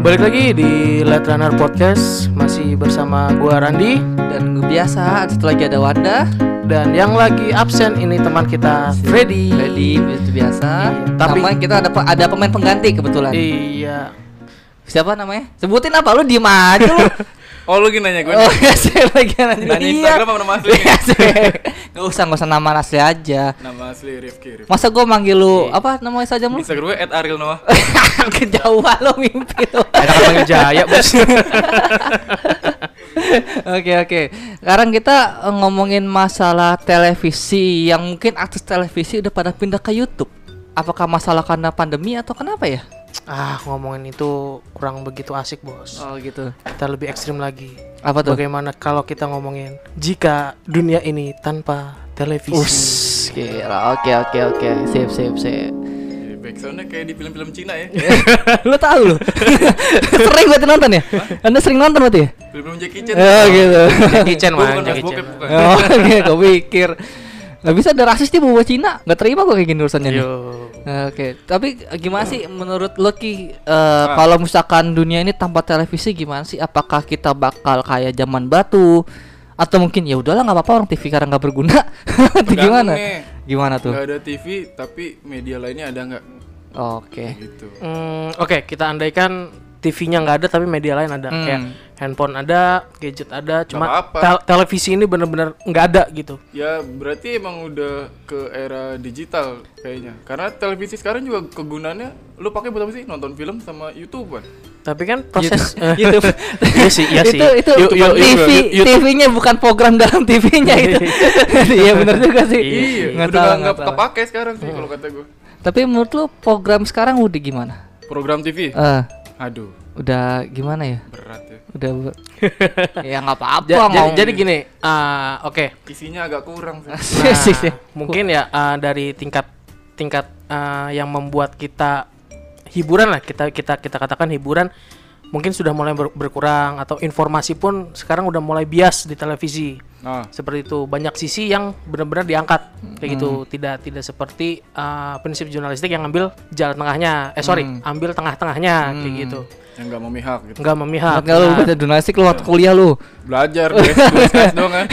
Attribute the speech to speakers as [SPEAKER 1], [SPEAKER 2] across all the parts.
[SPEAKER 1] Balik lagi di Late Runner Podcast Masih bersama gua Randi
[SPEAKER 2] Dan biasa, satu lagi ada Wanda
[SPEAKER 1] Dan yang lagi absen ini teman kita Freddy
[SPEAKER 2] Freddy, itu biasa
[SPEAKER 1] Iya, tapi-
[SPEAKER 2] Tapi kita ada pe- ada pemain pengganti kebetulan
[SPEAKER 1] Iya
[SPEAKER 2] Siapa namanya? Sebutin apa? Lu diem aja lu
[SPEAKER 3] Oh lu gini nanya gue
[SPEAKER 2] Oh ya, saya lagi nanya
[SPEAKER 3] Nanya Instagram apa nama asli?
[SPEAKER 2] Iya, saya- Nggak usah, nggak usah nama asli aja
[SPEAKER 3] Nama asli Rifki Rifki
[SPEAKER 2] Masa gue manggil lu,
[SPEAKER 1] Iya.
[SPEAKER 2] apa namanya saja lu?
[SPEAKER 3] Instagram gue at Ariel Noah
[SPEAKER 2] Kejauhan lu mimpi lu
[SPEAKER 1] Ada Bang Jaya bos
[SPEAKER 2] Oke oke. Sekarang kita eh, ngomongin masalah televisi yang mungkin akses televisi udah pada pindah ke YouTube. Apakah masalah karena pandemi atau kenapa ya?
[SPEAKER 1] Ah ngomongin itu kurang begitu asik bos
[SPEAKER 2] Oh gitu.
[SPEAKER 1] Kita lebih ekstrim lagi
[SPEAKER 2] Apa tuh?
[SPEAKER 1] Bagaimana kalau kita ngomongin Jika dunia ini tanpa televisi
[SPEAKER 2] Us, gila. Oke oke oke. Sip sip sip.
[SPEAKER 3] Jadi backsoundnya kayak di film-film Cina ya
[SPEAKER 2] lu tahu lu? sering berarti nonton ya? Anda sering nonton berarti ya?
[SPEAKER 3] Film-film Jackie Chan
[SPEAKER 2] Oh gitu.
[SPEAKER 1] Jackie Chan
[SPEAKER 3] Gue
[SPEAKER 1] man
[SPEAKER 3] bukan mas
[SPEAKER 1] Jackie
[SPEAKER 3] bokep
[SPEAKER 1] Chan
[SPEAKER 3] bukan
[SPEAKER 2] Oh, Oke, gue pikir. Gak bisa ada rasis nih bawa Cina. Gak terima gue kayak gini urusannya. nih.
[SPEAKER 1] Yo.
[SPEAKER 2] Nah, Oke, tapi gimana sih menurut lo Ki eh, kalau misalkan dunia ini tanpa televisi gimana sih? Apakah kita bakal kayak zaman batu atau mungkin ya udahlah nggak apa-apa orang TV karena nggak berguna atau
[SPEAKER 3] Tergantung
[SPEAKER 2] gimana?
[SPEAKER 3] nih.
[SPEAKER 2] Gimana tuh?
[SPEAKER 3] Gak ada TV tapi media lainnya ada nggak?
[SPEAKER 2] Oke.
[SPEAKER 3] Gitu
[SPEAKER 1] Hmm, Oke kita andaikan TV-nya nggak ada tapi media lain ada
[SPEAKER 2] Hmm.
[SPEAKER 1] kayak handphone ada gadget ada cuma
[SPEAKER 3] apa-apa.
[SPEAKER 1] tel- televisi ini bener-bener nggak ada gitu
[SPEAKER 3] Ya berarti emang udah ke era digital kayaknya Karena televisi sekarang juga kegunaannya Lu pakai buat apa sih? Nonton film sama Youtube kan?
[SPEAKER 1] tapi kan proses eh,
[SPEAKER 2] YouTube.
[SPEAKER 1] Iya sih, iya sih.
[SPEAKER 2] itu itu
[SPEAKER 1] Yuk, yuk, yuk,
[SPEAKER 2] TV
[SPEAKER 1] yuk, yuk.
[SPEAKER 2] TV-nya bukan program dalam TV-nya itu. Iya benar juga sih.
[SPEAKER 1] Iya,
[SPEAKER 2] Nggak salah,
[SPEAKER 3] Iya, udah nggak
[SPEAKER 2] nggak Eh. salah.
[SPEAKER 3] kepake sekarang sih kalau kata gue
[SPEAKER 2] Tapi menurut lo program sekarang udah gimana?
[SPEAKER 3] Program TV?
[SPEAKER 2] Eh,
[SPEAKER 3] Aduh
[SPEAKER 2] udah gimana ya?
[SPEAKER 3] berat ya
[SPEAKER 2] Udah ber- ya nggak apa-apa
[SPEAKER 1] Ja- jadi,
[SPEAKER 2] ngomong.
[SPEAKER 1] jadi gini ah, oke
[SPEAKER 3] Isinya agak kurang sih
[SPEAKER 1] Nah,
[SPEAKER 2] Sih, sih.
[SPEAKER 1] mungkin ya ah, dari tingkat tingkat ah, yang membuat kita hiburan lah kita kita kita katakan hiburan mungkin sudah mulai ber- berkurang atau informasi pun sekarang udah mulai bias di televisi
[SPEAKER 3] Nah
[SPEAKER 1] seperti itu banyak sisi yang benar-benar diangkat kayak gitu tidak tidak seperti uh, prinsip jurnalistik yang ambil jalan tengahnya eh sorry ambil tengah-tengahnya kayak gitu
[SPEAKER 3] yang nggak memihak gitu
[SPEAKER 1] nggak memihak
[SPEAKER 2] Nggak lu
[SPEAKER 1] Nah,
[SPEAKER 2] baca jurnalistik lu waktu kuliah lu
[SPEAKER 3] belajar deh tulis doang ya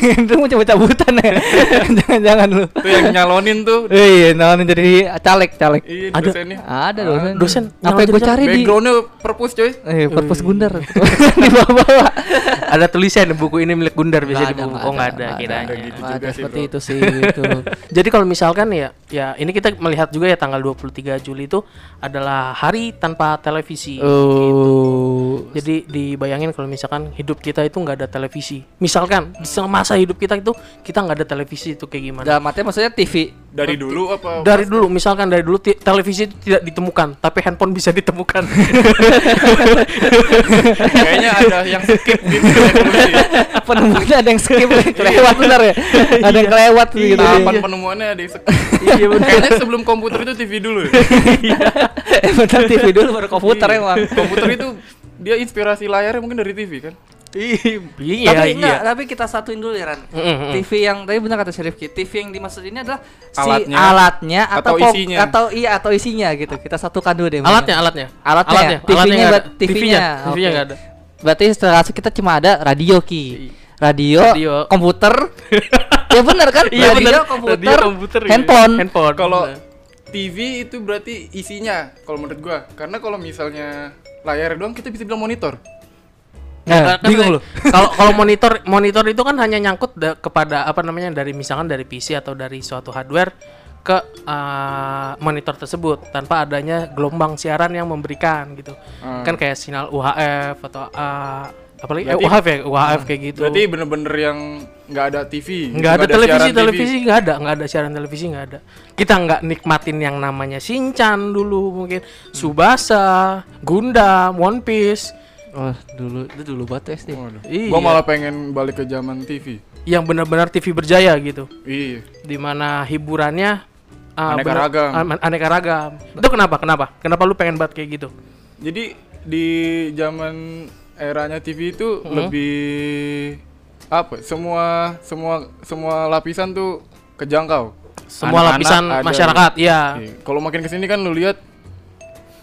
[SPEAKER 2] Itu mau coba cabutan ya Jangan-jangan lu
[SPEAKER 3] itu yang nyalonin tuh
[SPEAKER 2] Iya, nyalonin jadi caleg-caleg
[SPEAKER 3] iya
[SPEAKER 1] Ada.
[SPEAKER 3] dosennya
[SPEAKER 2] Ada dosen
[SPEAKER 1] dosen
[SPEAKER 2] Apa yang
[SPEAKER 1] nyalonin
[SPEAKER 2] gue
[SPEAKER 1] jadi
[SPEAKER 2] cari di
[SPEAKER 3] backgroundnya perpus coy
[SPEAKER 2] Eh, perpus gundar Di bawah-bawah
[SPEAKER 1] ada tulisan buku ini milik Gundar biasanya di
[SPEAKER 2] Nggak
[SPEAKER 1] buku oh nggak ada
[SPEAKER 2] nggak
[SPEAKER 1] kirain.
[SPEAKER 3] ada. gitu
[SPEAKER 2] Nggak
[SPEAKER 3] juga
[SPEAKER 2] ada
[SPEAKER 3] sih,
[SPEAKER 2] Seperti
[SPEAKER 3] bro.
[SPEAKER 2] itu sih gitu.
[SPEAKER 1] jadi kalau misalkan ya ya ini kita melihat juga ya tanggal 23 Juli itu adalah hari tanpa televisi
[SPEAKER 2] Gitu. Oh
[SPEAKER 1] Jadi dibayangin kalau misalkan hidup kita itu nggak ada televisi. Misalkan semasa hidup kita itu kita nggak ada televisi itu kayak gimana?
[SPEAKER 2] Dalam artinya maksudnya TV
[SPEAKER 3] dari dulu apa
[SPEAKER 1] dari dulu misalkan dari dulu ti- televisi itu tidak ditemukan tapi handphone bisa ditemukan
[SPEAKER 3] kayaknya ada yang skip gitu revolusi.
[SPEAKER 2] Penemuannya ada yang skip
[SPEAKER 3] Iya.
[SPEAKER 2] Kelewat bener ya Ada yang kelewat
[SPEAKER 1] Iya,
[SPEAKER 2] gitu
[SPEAKER 3] tahapan penemuannya ada yang skip kayaknya sebelum komputer itu TV dulu ya.
[SPEAKER 2] Eh bentar TV dulu baru komputer
[SPEAKER 3] Iya.
[SPEAKER 2] emang
[SPEAKER 3] komputer itu dia inspirasi layarnya mungkin dari TV kan
[SPEAKER 1] iya
[SPEAKER 2] tapi enggak,
[SPEAKER 1] iya
[SPEAKER 2] tapi kita satuin dulu ya Ran. TV yang tadi benar kata Syarif Ki, TV yang dimaksud ini adalah si
[SPEAKER 3] Alatnya.
[SPEAKER 2] alatnya atau
[SPEAKER 3] Atau
[SPEAKER 2] po-
[SPEAKER 3] isinya.
[SPEAKER 2] atau iya atau isinya gitu. Kita satukan dulu deh.
[SPEAKER 1] alatnya alatnya ya?
[SPEAKER 2] Alatnya,
[SPEAKER 1] alatnya
[SPEAKER 2] TV-nya
[SPEAKER 1] alatnya nggak ada.
[SPEAKER 2] buat TV-nya.
[SPEAKER 1] TV-nya
[SPEAKER 2] Oke.
[SPEAKER 1] TV-nya nggak ada
[SPEAKER 2] Berarti setelah itu kita cuma ada radio Ki. Radio,
[SPEAKER 1] Iya. Radio.
[SPEAKER 2] komputer. ya benar kan?
[SPEAKER 1] Iya,
[SPEAKER 2] radio,
[SPEAKER 1] benar.
[SPEAKER 2] komputer,
[SPEAKER 1] Radio, komputer, iya.
[SPEAKER 2] handphone.
[SPEAKER 1] handphone
[SPEAKER 3] kalau TV itu berarti isinya kalau menurut gua karena kalau misalnya layar doang kita bisa bilang monitor
[SPEAKER 2] Nah, bingung lu.
[SPEAKER 1] kalau kalau monitor monitor itu kan hanya nyangkut da- kepada apa namanya dari misalkan dari PC atau dari suatu hardware ke eh, monitor tersebut tanpa adanya gelombang siaran yang memberikan gitu
[SPEAKER 3] Hmm.
[SPEAKER 1] kan kayak sinyal UHF atau eh, apa lagi eh,
[SPEAKER 3] Berarti-
[SPEAKER 1] UHF ya UHF kayak gitu
[SPEAKER 3] berarti bener-bener yang nggak ada TV
[SPEAKER 1] nggak ada, televisi
[SPEAKER 3] siaran TV.
[SPEAKER 1] televisi nggak ada nggak ada siaran televisi nggak ada kita nggak nikmatin yang namanya Shinchan dulu mungkin
[SPEAKER 3] Hmm.
[SPEAKER 1] Subasa Gundam One Piece
[SPEAKER 2] Oh, dulu itu dulu banget SD.
[SPEAKER 3] Waduh.
[SPEAKER 1] Iya.
[SPEAKER 3] Gua malah pengen balik ke zaman TV.
[SPEAKER 1] yang benar-benar TV berjaya gitu
[SPEAKER 3] Iya.
[SPEAKER 1] di mana hiburannya uh,
[SPEAKER 3] Aneka
[SPEAKER 1] bener-
[SPEAKER 3] ragam.
[SPEAKER 1] an- aneka ragam itu kenapa kenapa kenapa lu pengen banget kayak gitu
[SPEAKER 3] Jadi di zaman eranya TV itu lebih apa? Semua semua semua lapisan tuh kejangkau.
[SPEAKER 1] semua
[SPEAKER 3] anak-anak
[SPEAKER 1] lapisan
[SPEAKER 3] ada.
[SPEAKER 1] masyarakat iya
[SPEAKER 3] Iya. Kalau makin kesini kan lu lihat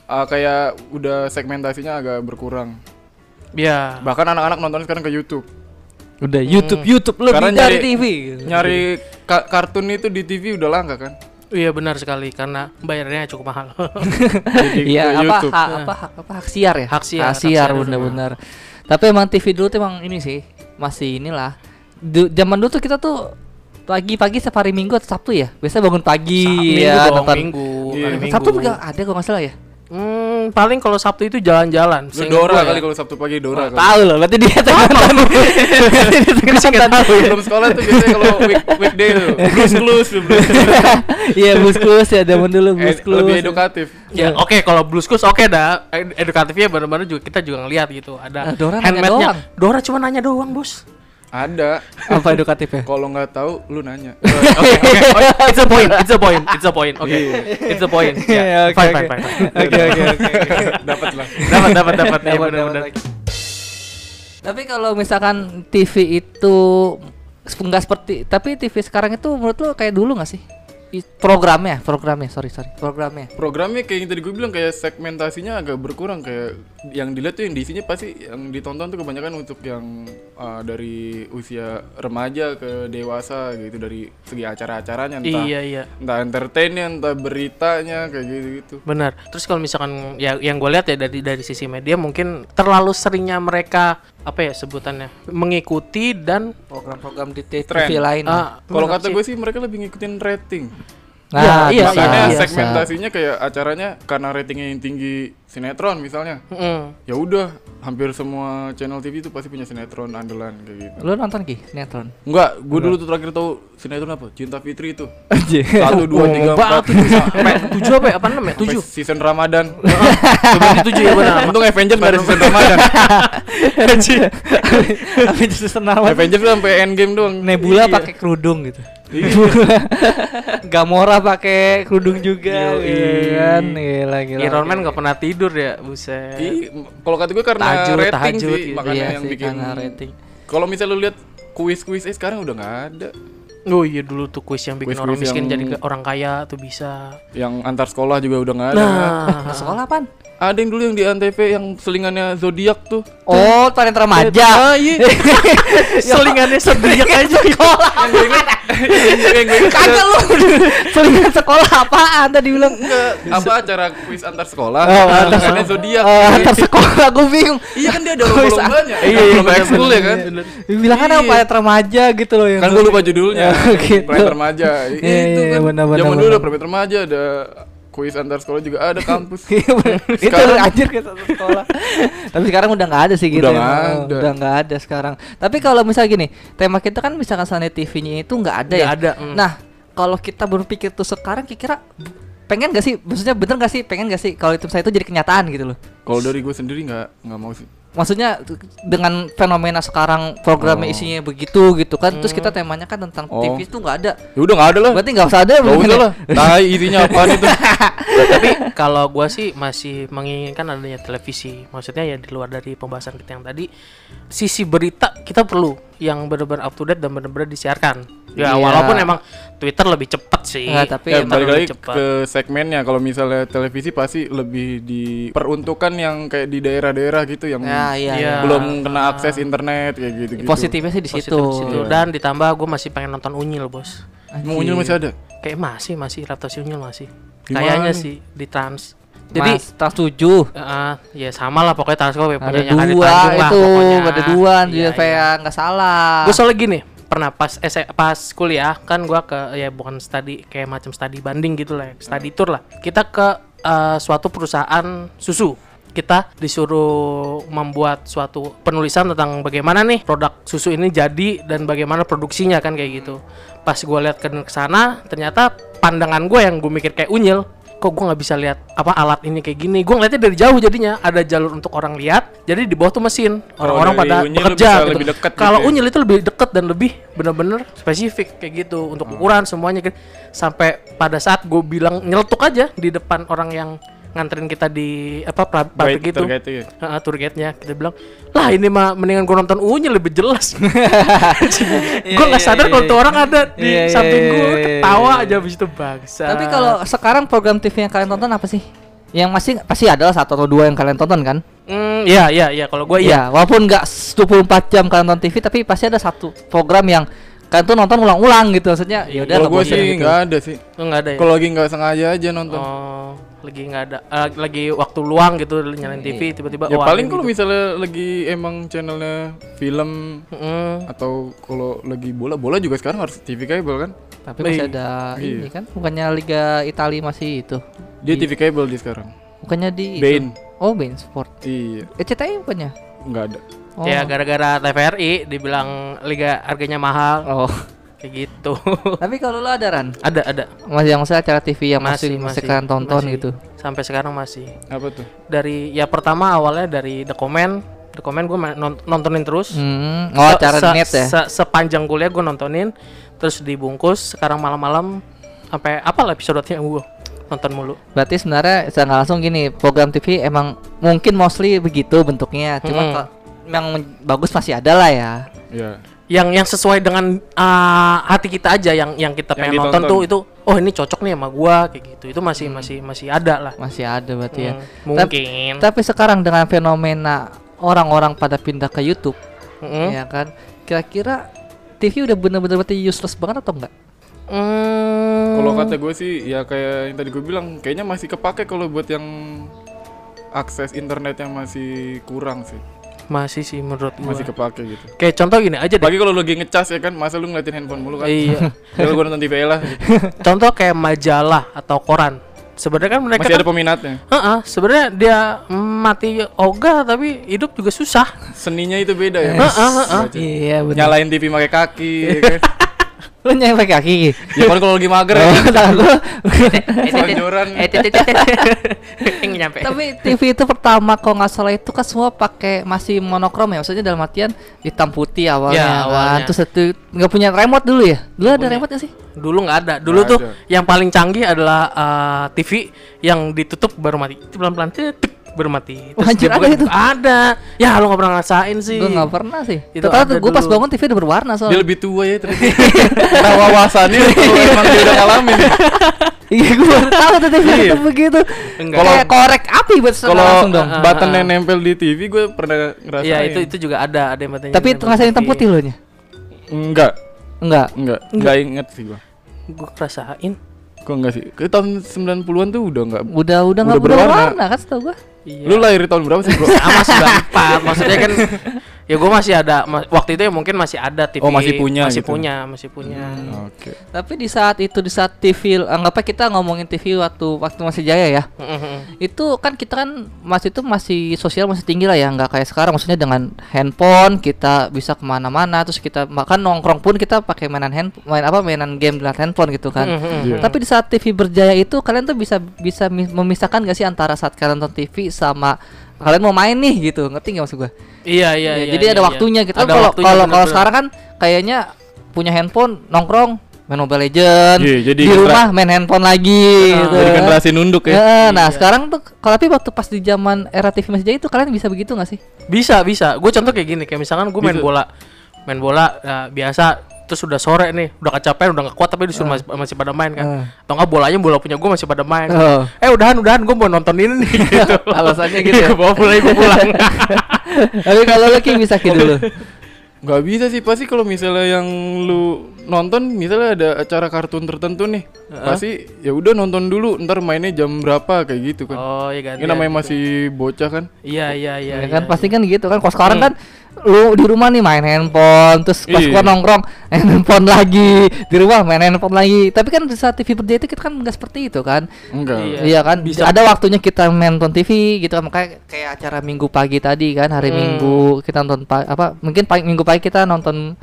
[SPEAKER 3] ah, kayak udah segmentasinya agak berkurang.
[SPEAKER 1] iya
[SPEAKER 3] Bahkan anak-anak nonton sekarang ke YouTube.
[SPEAKER 2] Udah
[SPEAKER 1] Hmm.
[SPEAKER 2] YouTube YouTube lebih
[SPEAKER 3] Karena
[SPEAKER 2] dari
[SPEAKER 3] nyari-
[SPEAKER 2] TV.
[SPEAKER 3] Nyari ka- kartun itu di TV udah langka kan?
[SPEAKER 1] iya benar sekali karena bayarnya cukup mahal
[SPEAKER 3] Jadi
[SPEAKER 2] Iya
[SPEAKER 3] ke
[SPEAKER 2] apa
[SPEAKER 3] YouTube.
[SPEAKER 2] hak apa hak apa hak siar ya?
[SPEAKER 1] Nah. Hak siar, hak siar dulu.
[SPEAKER 2] bener-bener. Tapi emang TV dulu tuh emang ini sih masih inilah. Du- zaman dulu tuh kita tuh pagi-pagi setiap hari Minggu atau Sabtu ya. Biasanya bangun pagi
[SPEAKER 1] minggu
[SPEAKER 2] ya
[SPEAKER 1] dong
[SPEAKER 2] nonton.
[SPEAKER 1] minggu,
[SPEAKER 3] Iya.
[SPEAKER 1] hari minggu.
[SPEAKER 2] Sabtu juga ada kalau nggak salah ya.
[SPEAKER 1] Hmm, paling kalau Sabtu itu jalan-jalan.
[SPEAKER 3] Lu
[SPEAKER 1] seingat gua ya.
[SPEAKER 3] Dora kali kalau Sabtu pagi Dora kali.
[SPEAKER 2] Tahu loh, berarti dia tengah nonton. Berarti dia
[SPEAKER 1] Kan
[SPEAKER 2] tengah nonton.
[SPEAKER 3] Belum sekolah tuh biasanya kalau week- weekday tuh.
[SPEAKER 1] Eh,
[SPEAKER 3] Eh, Blues blues.
[SPEAKER 2] Iya, buskus ya zaman dulu
[SPEAKER 3] Eh,
[SPEAKER 2] buskus.
[SPEAKER 3] lebih edukatif.
[SPEAKER 1] Ya, oke kalau bluskus oke dah. Ed- Edukatifnya benar-benar juga kita juga ngelihat gitu. Ada
[SPEAKER 2] Nah, Dora nanya
[SPEAKER 1] handmade-nya.
[SPEAKER 2] doang.
[SPEAKER 1] Dora cuma nanya doang, Bos.
[SPEAKER 3] Ada.
[SPEAKER 2] Apa ya? edukatifnya?
[SPEAKER 3] Kalau nggak tahu lu nanya. Eh,
[SPEAKER 1] Oke, oke. Oh, It's a point, it's a point, it's a point. Oke. It's a point.
[SPEAKER 2] Iya,
[SPEAKER 1] Ya.
[SPEAKER 2] oke,
[SPEAKER 1] Fine,
[SPEAKER 2] oke.
[SPEAKER 1] fine, fine.
[SPEAKER 2] Oke, oke, oke.
[SPEAKER 3] Dapat lah.
[SPEAKER 1] Dapat, dapat, dapat. Ya,
[SPEAKER 2] Dapat,
[SPEAKER 1] benar-benar.
[SPEAKER 2] dapat. Tapi kalau misalkan TV itu enggak seperti tapi TV sekarang itu menurut lo kayak dulu nggak sih? I- Programnya, programnya, sorry sorry, programnya.
[SPEAKER 3] Programnya kayak yang tadi gue bilang kayak segmentasinya agak berkurang kayak yang dilihat tuh yang diisinya pasti yang ditonton tuh kebanyakan untuk yang uh, dari usia remaja ke dewasa gitu dari segi acara-acaranya entah
[SPEAKER 1] Iya, iya.
[SPEAKER 3] entah entertainnya entah beritanya kayak gitu gitu.
[SPEAKER 1] Benar. Terus kalau misalkan ya yang gue lihat ya dari dari sisi media mungkin terlalu seringnya mereka apa ya sebutannya mengikuti dan
[SPEAKER 2] Program-program di t-
[SPEAKER 3] Tren.
[SPEAKER 2] TV lain.
[SPEAKER 1] ah,
[SPEAKER 3] Kalau
[SPEAKER 1] apa
[SPEAKER 3] kata
[SPEAKER 1] sih?
[SPEAKER 3] gue sih mereka lebih ngikutin rating.
[SPEAKER 2] Nah,
[SPEAKER 1] iya,
[SPEAKER 2] bisa,
[SPEAKER 3] Makanya
[SPEAKER 2] bisa.
[SPEAKER 3] segmentasinya kayak acaranya karena ratingnya yang tinggi sinetron misalnya.
[SPEAKER 1] Mm-mm.
[SPEAKER 3] Ya udah, hampir semua channel TV itu pasti punya sinetron andalan kayak gitu.
[SPEAKER 2] Lo nonton Ki sinetron?
[SPEAKER 3] Enggak, gue dulu tuh terakhir tahu sinetron apa? Cinta Fitri itu.
[SPEAKER 2] Anjir.
[SPEAKER 3] Satu, dua, tiga, empat,
[SPEAKER 1] Sampai Oh, tujuh apa ya? Apa enam ya?
[SPEAKER 3] sampai
[SPEAKER 1] Tujuh.
[SPEAKER 3] season Ramadan.
[SPEAKER 1] Sebenarnya tujuh ya benar.
[SPEAKER 3] Untung Avengers nggak ada season Ramadan.
[SPEAKER 2] Tapi justru senawan
[SPEAKER 3] Avengers tuh sampai Endgame doang. Iya,
[SPEAKER 2] Nebula pakai kerudung gitu. Gamora pakai kerudung juga
[SPEAKER 1] Yoi.
[SPEAKER 2] gitu kan. Gila gila.
[SPEAKER 1] Iron Man nggak pernah tidur ya, buset.
[SPEAKER 3] Iya, Kalau kata gue karena
[SPEAKER 1] Tahajud,
[SPEAKER 3] rating
[SPEAKER 1] tahajud,
[SPEAKER 3] sih,
[SPEAKER 1] iya
[SPEAKER 3] makanya
[SPEAKER 2] Iya
[SPEAKER 3] yang
[SPEAKER 2] sih,
[SPEAKER 3] bikin.
[SPEAKER 2] karena rating.
[SPEAKER 3] Kalau misalnya lu lihat kuis-kuis eh sekarang udah nggak ada.
[SPEAKER 1] Oh iya dulu tuh kuis yang bikin
[SPEAKER 3] Kuis-kuis
[SPEAKER 1] orang miskin
[SPEAKER 3] yang-
[SPEAKER 1] jadi ke- orang kaya tuh bisa.
[SPEAKER 3] Yang antar sekolah juga udah nggak ada.
[SPEAKER 1] Nah,
[SPEAKER 2] Sekolah apaan?
[SPEAKER 3] Ada yang dulu yang di Antv yang selingannya zodiak tuh.
[SPEAKER 2] Oh, talent remaja.
[SPEAKER 3] Ah, iya.
[SPEAKER 1] selingannya sedih aja.
[SPEAKER 2] Sekolah.
[SPEAKER 3] yang gue inget. yang gue
[SPEAKER 2] Iya,
[SPEAKER 3] inget.
[SPEAKER 2] Kagak lu. Selingan sekolah apaan tadi bilang?
[SPEAKER 3] apa acara kuis antar sekolah?
[SPEAKER 2] Oh, antar
[SPEAKER 3] Selingannya zodiak.
[SPEAKER 2] Oh, antar sekolah gue bingung.
[SPEAKER 3] Iya kan dia ada
[SPEAKER 2] Kuis
[SPEAKER 3] lomba-lombanya.
[SPEAKER 1] Iya, iya,
[SPEAKER 3] Lomba
[SPEAKER 1] bener,
[SPEAKER 3] ekskul ya
[SPEAKER 1] bener,
[SPEAKER 3] kan?
[SPEAKER 1] bener.
[SPEAKER 2] Bilang kan apa talent remaja gitu loh yang.
[SPEAKER 3] Kan gue lupa judulnya.
[SPEAKER 2] Oh, gitu.
[SPEAKER 3] Planet remaja.
[SPEAKER 2] Iya,
[SPEAKER 3] Itu
[SPEAKER 2] iya,
[SPEAKER 3] kan.
[SPEAKER 2] benar, benar,
[SPEAKER 3] Zaman dulu
[SPEAKER 2] benar.
[SPEAKER 3] ada planet remaja, ada kuis antar sekolah juga ada kampus.
[SPEAKER 2] Iya, bener. itu
[SPEAKER 3] Sekarang-
[SPEAKER 2] anjir ke satu sekolah. Tapi sekarang udah nggak ada sih gitu.
[SPEAKER 3] Udah
[SPEAKER 2] ya.
[SPEAKER 3] nggak
[SPEAKER 2] Oh,
[SPEAKER 3] ada.
[SPEAKER 2] Udah nggak ada sekarang. Tapi kalau misalnya gini, tema kita kan misalkan sana TV-nya itu nggak ada
[SPEAKER 1] Nggak
[SPEAKER 2] ya.
[SPEAKER 1] ada, mm.
[SPEAKER 2] Nah, kalau kita berpikir tuh sekarang kira-kira pengen gak sih maksudnya bener gak sih pengen gak sih kalau itu saya itu jadi kenyataan gitu loh
[SPEAKER 3] Kalau dari gue sendiri nggak nggak mau sih.
[SPEAKER 2] maksudnya t- dengan fenomena sekarang programnya
[SPEAKER 3] Oh.
[SPEAKER 2] isinya begitu gitu kan terus kita temanya kan tentang
[SPEAKER 3] Oh.
[SPEAKER 2] TV itu nggak ada
[SPEAKER 3] Ya udah nggak ada lah.
[SPEAKER 2] berarti nggak usah ada
[SPEAKER 3] Gak
[SPEAKER 2] bener
[SPEAKER 3] usah
[SPEAKER 2] ya?
[SPEAKER 3] lah. Tai isinya apaan itu?
[SPEAKER 1] Tapi kalau gua sih masih menginginkan adanya televisi. Maksudnya ya di luar dari pembahasan kita yang tadi, sisi berita kita perlu yang benar-benar up to date dan benar-benar disiarkan. Ya
[SPEAKER 2] Iya.
[SPEAKER 1] walaupun emang Twitter lebih cepat sih.
[SPEAKER 2] Nggak, tapi
[SPEAKER 3] Ya,
[SPEAKER 2] emang
[SPEAKER 3] balik lagi
[SPEAKER 1] lebih cepat.
[SPEAKER 3] ke segmennya kalau misalnya televisi pasti lebih diperuntukkan yang kayak di daerah-daerah gitu yang
[SPEAKER 2] ya iya,
[SPEAKER 1] Iya.
[SPEAKER 2] iya.
[SPEAKER 3] belum kena akses internet kayak gitu gitu.
[SPEAKER 2] positifnya sih di
[SPEAKER 1] Positif di
[SPEAKER 2] situ
[SPEAKER 1] situ. Dan ditambah gue masih pengen nonton Unyil, Bos.
[SPEAKER 3] Mau Unyil masih ada?
[SPEAKER 1] Kayak masih masih Raptor si Unyil masih.
[SPEAKER 3] Di
[SPEAKER 1] Kayaknya
[SPEAKER 3] mana?
[SPEAKER 1] sih di Trans.
[SPEAKER 2] Jadi
[SPEAKER 1] Jadi
[SPEAKER 2] tas tujuh
[SPEAKER 1] eh, ya sama lah pokoknya Trans gue
[SPEAKER 2] ada
[SPEAKER 1] punya yang di
[SPEAKER 2] dua
[SPEAKER 1] Tanjung lah
[SPEAKER 2] itu
[SPEAKER 1] pokoknya.
[SPEAKER 2] ada dua
[SPEAKER 1] Iya,
[SPEAKER 2] jadi
[SPEAKER 1] iya.
[SPEAKER 2] kayak nggak salah.
[SPEAKER 1] Gue soalnya gini, pernah pas eh, saya- pas kuliah kan gua ke ya bukan study kayak macam study banding gitu lah, ya, study tour lah. Kita ke eh, suatu perusahaan susu. Kita disuruh membuat suatu penulisan tentang bagaimana nih produk susu ini jadi dan bagaimana produksinya kan kayak gitu. Pas gua lihat ke ke sana, ternyata pandangan gue yang gue mikir kayak unyil, kok gue nggak bisa lihat apa alat ini kayak gini. Gue ngeliatnya dari jauh jadinya ada jalur untuk orang lihat, jadi di bawah tuh mesin orang-orang
[SPEAKER 3] Oh, dari
[SPEAKER 1] pada
[SPEAKER 3] unyil
[SPEAKER 1] bekerja
[SPEAKER 3] bisa
[SPEAKER 1] gitu.
[SPEAKER 3] lebih dekat gitu
[SPEAKER 1] Kalau
[SPEAKER 3] ya.
[SPEAKER 1] unyil itu lebih deket dan lebih bener-bener spesifik kayak gitu
[SPEAKER 2] Hmm.
[SPEAKER 1] kan. untuk ukuran semuanya gitu. sampai pada saat gue bilang nyeletuk aja di depan orang yang nganterin kita di apa pra-
[SPEAKER 3] Baik,
[SPEAKER 1] pabrik itu
[SPEAKER 3] terkait itu ya.
[SPEAKER 1] Heeh, tour guide-nya kita bilang lah ini mah mendingan gua nonton Unya lebih jelas gua nggak
[SPEAKER 2] iya,
[SPEAKER 1] sadar
[SPEAKER 2] iya,
[SPEAKER 1] kalau tuh
[SPEAKER 2] iya.
[SPEAKER 1] orang ada di
[SPEAKER 2] Iya, iya,
[SPEAKER 1] samping gua
[SPEAKER 2] iya, iya,
[SPEAKER 1] ketawa
[SPEAKER 2] iya.
[SPEAKER 1] aja abis itu bangsa
[SPEAKER 2] Tapi kalau sekarang program TV yang kalian tonton apa sih? Yang masih pasti adalah satu atau dua yang kalian tonton kan?
[SPEAKER 1] Hmm, ya ya ya kalau gua iya.
[SPEAKER 2] Iya, walaupun nggak 24 jam kalian nonton TV tapi pasti ada satu program yang kalian tuh nonton ulang-ulang gitu maksudnya. Ya udah
[SPEAKER 3] Kalau
[SPEAKER 2] nggak
[SPEAKER 3] gue
[SPEAKER 2] bosan
[SPEAKER 3] sih
[SPEAKER 2] gitu.
[SPEAKER 3] nggak ada sih.
[SPEAKER 1] Lu nggak ada ya.
[SPEAKER 3] Kalau lagi nggak sengaja aja nonton. Ya,
[SPEAKER 1] Oh, lagi nggak ada eh, lagi waktu luang gitu nyalain
[SPEAKER 2] Iya,
[SPEAKER 1] TV tiba-tiba
[SPEAKER 3] ya
[SPEAKER 1] wah,
[SPEAKER 3] paling
[SPEAKER 1] ini
[SPEAKER 3] kalau
[SPEAKER 1] gitu.
[SPEAKER 3] misalnya lagi emang channelnya film
[SPEAKER 1] Mm.
[SPEAKER 3] atau kalau lagi bola bola juga sekarang harus TV cable kan?
[SPEAKER 2] Tapi masih
[SPEAKER 1] Iya.
[SPEAKER 2] ada
[SPEAKER 3] Iya.
[SPEAKER 2] ini kan bukannya Liga Italia masih itu.
[SPEAKER 3] Dia
[SPEAKER 1] Iya.
[SPEAKER 3] TV cable di sekarang.
[SPEAKER 2] Bukannya di itu.
[SPEAKER 3] Bein.
[SPEAKER 2] Oh, Bein Sport.
[SPEAKER 3] Iya,
[SPEAKER 2] ECTI bukannya?
[SPEAKER 3] nggak ada.
[SPEAKER 2] Oh.
[SPEAKER 1] Ya gara-gara TVRI dibilang liga harganya mahal
[SPEAKER 2] Oh.
[SPEAKER 1] kayak gitu.
[SPEAKER 2] tapi kalau lu ada Ran,
[SPEAKER 1] ada ada.
[SPEAKER 2] masih yang saya acara TV yang masih, masih, kalian tonton
[SPEAKER 1] masih.
[SPEAKER 2] gitu.
[SPEAKER 1] Sampai sekarang masih.
[SPEAKER 3] Apa tuh?
[SPEAKER 1] Dari ya pertama awalnya dari The Comment. The Comment gue nontonin terus.
[SPEAKER 2] Hmm. Oh,
[SPEAKER 1] Se-
[SPEAKER 2] acara
[SPEAKER 1] se-
[SPEAKER 2] net ya.
[SPEAKER 1] se- sepanjang kuliah gue nontonin terus dibungkus sekarang malam-malam sampai apalah episodenya gue nonton mulu.
[SPEAKER 2] Berarti sebenarnya secara nggak langsung gini, program TV emang mungkin mostly begitu bentuknya. Cuma
[SPEAKER 1] Mm-mm.
[SPEAKER 2] kalau yang men- bagus masih ada lah ya.
[SPEAKER 3] Ya.
[SPEAKER 1] Yang yang sesuai dengan uh, hati kita aja yang yang kita
[SPEAKER 3] Yang
[SPEAKER 1] pengen nonton
[SPEAKER 3] ditonton.
[SPEAKER 1] tuh itu oh ini cocok nih sama gua kayak gitu. Itu masih
[SPEAKER 2] Hmm.
[SPEAKER 1] masih masih ada lah.
[SPEAKER 2] Masih ada berarti ya.
[SPEAKER 1] Hmm,
[SPEAKER 2] Tap-
[SPEAKER 1] mungkin.
[SPEAKER 2] Tapi sekarang dengan fenomena orang-orang pada pindah ke YouTube,
[SPEAKER 1] Mm-mm.
[SPEAKER 2] ya kan? Kira-kira TV udah bener-bener berarti useless banget atau enggak?
[SPEAKER 1] Hmm.
[SPEAKER 3] Kalau kata gue sih ya kayak yang tadi gue bilang kayaknya masih kepake kalau buat yang akses internet yang masih kurang sih.
[SPEAKER 1] masih sih menurut gua.
[SPEAKER 3] Masih kepake gitu.
[SPEAKER 1] Kayak contoh gini aja deh.
[SPEAKER 3] Apalagi kalau lu lagi ngecas ya kan, masa lu ngeliatin handphone mulu kan?
[SPEAKER 1] iya.
[SPEAKER 3] Ya lu gue nonton TV lah. gitu.
[SPEAKER 1] contoh kayak majalah atau koran. Sebenarnya kan mereka
[SPEAKER 3] Masih ada
[SPEAKER 1] kan-
[SPEAKER 3] peminatnya.
[SPEAKER 1] Heeh, sebenarnya dia mati ogah tapi hidup juga susah.
[SPEAKER 3] Seninya itu beda ya.
[SPEAKER 1] Heeh, heeh, heeh.
[SPEAKER 3] Baca.
[SPEAKER 2] Iya benar.
[SPEAKER 3] Nyalain TV pakai kaki. ya kan?
[SPEAKER 2] Lu nyampe kaki.
[SPEAKER 3] ya kan kalau lagi mager ya.
[SPEAKER 2] Oh, tangan
[SPEAKER 1] Eh,
[SPEAKER 2] gua.
[SPEAKER 3] Selonjoran.
[SPEAKER 1] Ini nyampe.
[SPEAKER 2] Tapi TV itu pertama kalau nggak salah itu kan semua pakai masih monokrom ya, maksudnya dalam artian hitam putih awalnya,
[SPEAKER 1] Ya,
[SPEAKER 2] kan.
[SPEAKER 1] awalnya.
[SPEAKER 2] terus itu nggak punya remote dulu ya? Dulu ada remote nggak sih?
[SPEAKER 1] Dulu nggak ada. Dulu
[SPEAKER 3] Nggak
[SPEAKER 1] tuh
[SPEAKER 3] ada.
[SPEAKER 1] yang paling canggih adalah eh, TV yang ditutup baru mati. Itu Pelan-pelan tutup baru mati. Terus
[SPEAKER 2] Wah, anjir,
[SPEAKER 1] dibuka-
[SPEAKER 2] ada itu?
[SPEAKER 1] Ada. Ya lu nggak pernah ngasain sih.
[SPEAKER 2] Gue nggak pernah sih.
[SPEAKER 1] Iya. Itu
[SPEAKER 2] Total
[SPEAKER 1] ada
[SPEAKER 2] gue pas
[SPEAKER 1] dulu.
[SPEAKER 2] bangun TV udah berwarna
[SPEAKER 3] Dia
[SPEAKER 2] soalnya.
[SPEAKER 3] lebih tua ya ternyata. Nah wawasannya kalau emang dia udah ngalamin.
[SPEAKER 2] Iya gue baru tahu tuh TV itu begitu.
[SPEAKER 1] Enggak.
[SPEAKER 2] Kalau korek api buat secara
[SPEAKER 3] Kalau Iya,
[SPEAKER 2] langsung dong.
[SPEAKER 1] Ah, ah,
[SPEAKER 3] button
[SPEAKER 1] ah.
[SPEAKER 3] yang nempel di TV gue pernah ngerasain.
[SPEAKER 1] Iya, itu itu juga ada ada yang matanya.
[SPEAKER 2] Tapi itu
[SPEAKER 1] iya.
[SPEAKER 2] ngerasain hitam putih loh nya.
[SPEAKER 3] Enggak,
[SPEAKER 2] Enggak.
[SPEAKER 3] enggak, enggak inget sih gua.
[SPEAKER 1] Gue kerasain.
[SPEAKER 3] Gua enggak sih. Ke tahun 90-an tuh udah enggak.
[SPEAKER 2] Udah udah nggak udah
[SPEAKER 3] Udah berwarna.
[SPEAKER 2] berwarna kan setahu gue.
[SPEAKER 1] Iya.
[SPEAKER 3] Lu lahir tahun berapa sih, Bro?
[SPEAKER 1] sama 94 maksudnya kan ya gue masih ada ma- waktu itu ya mungkin masih ada TV
[SPEAKER 3] Oh, masih punya
[SPEAKER 1] masih
[SPEAKER 3] gitu.
[SPEAKER 1] punya masih punya
[SPEAKER 3] Oke.
[SPEAKER 2] Tapi di saat itu di saat TV anggapnya kita ngomongin TV waktu waktu masih jaya ya.
[SPEAKER 1] Mm-mm.
[SPEAKER 3] Hmm.
[SPEAKER 2] itu kan kita kan masih itu masih sosial masih tinggi lah ya nggak kayak sekarang maksudnya dengan handphone kita bisa kemana-mana terus kita makan nongkrong pun kita pakai mainan hand main apa mainan game di handphone gitu kan
[SPEAKER 3] Iya.
[SPEAKER 1] Mm-mm.
[SPEAKER 2] tapi di saat TV berjaya itu kalian tuh bisa bisa mi- memisahkan gak sih antara saat kalian nonton TV sama kalian mau main nih gitu ngerti nggak maksud gua
[SPEAKER 1] iya iya iya
[SPEAKER 2] Ya, jadi
[SPEAKER 1] iya,
[SPEAKER 2] ada
[SPEAKER 1] iya.
[SPEAKER 2] waktunya gitu kan
[SPEAKER 1] Ada
[SPEAKER 2] kalau
[SPEAKER 1] waktunya,
[SPEAKER 2] kalau kalau
[SPEAKER 1] bener-bener.
[SPEAKER 2] sekarang kan kayaknya punya handphone nongkrong main Mobile Legend
[SPEAKER 3] Iya, jadi
[SPEAKER 2] di
[SPEAKER 3] kita- Iya.
[SPEAKER 2] rumah main handphone lagi gitu
[SPEAKER 3] Jadi
[SPEAKER 2] kan.
[SPEAKER 3] generasi nunduk ya.
[SPEAKER 2] Ya, nah
[SPEAKER 1] Iya.
[SPEAKER 2] sekarang tuh kalau tapi waktu pas di zaman era TV masih jaya itu kalian bisa begitu nggak sih?
[SPEAKER 1] bisa bisa gue contoh kayak gini kayak misalkan gue main
[SPEAKER 3] Bisa.
[SPEAKER 1] bola main bola eh, biasa terus udah sore nih udah kecapean udah gak kuat tapi disuruh masih, masih pada main kan
[SPEAKER 2] Ah.
[SPEAKER 1] atau nggak bolanya bola punya gue masih pada main
[SPEAKER 2] Oh.
[SPEAKER 1] eh udahan udahan gue mau nonton ini nih gitu
[SPEAKER 2] Alasannya gitu ya?
[SPEAKER 1] gue bawa bola gue pulang
[SPEAKER 2] tapi kalau lu Ki, bisa gitu dulu.
[SPEAKER 3] Gak bisa sih pasti kalau misalnya yang lu nonton misalnya ada acara kartun tertentu nih pasti ya udah nonton dulu ntar mainnya jam berapa kayak gitu kan
[SPEAKER 1] oh iya gantian
[SPEAKER 3] ini namanya
[SPEAKER 1] gitu.
[SPEAKER 3] masih bocah kan
[SPEAKER 1] iya iya iya Hmm.
[SPEAKER 2] Ya kan
[SPEAKER 1] iya,
[SPEAKER 2] pasti kan gitu kan. Kalau sekarang kan lu di rumah nih main handphone, terus pas
[SPEAKER 3] Iya.
[SPEAKER 2] keluar nongkrong main handphone lagi, di rumah main handphone lagi. Tapi kan di saat TV berjaya itu kita kan nggak seperti itu kan.
[SPEAKER 3] enggak
[SPEAKER 1] Iya.
[SPEAKER 2] Iya kan,
[SPEAKER 1] Bisa.
[SPEAKER 2] ada waktunya kita main nonton TV gitu kan, makanya kayak acara Minggu pagi tadi kan, hari
[SPEAKER 1] Hmm.
[SPEAKER 2] Minggu kita nonton pa- apa, mungkin pagi Minggu pagi kita nonton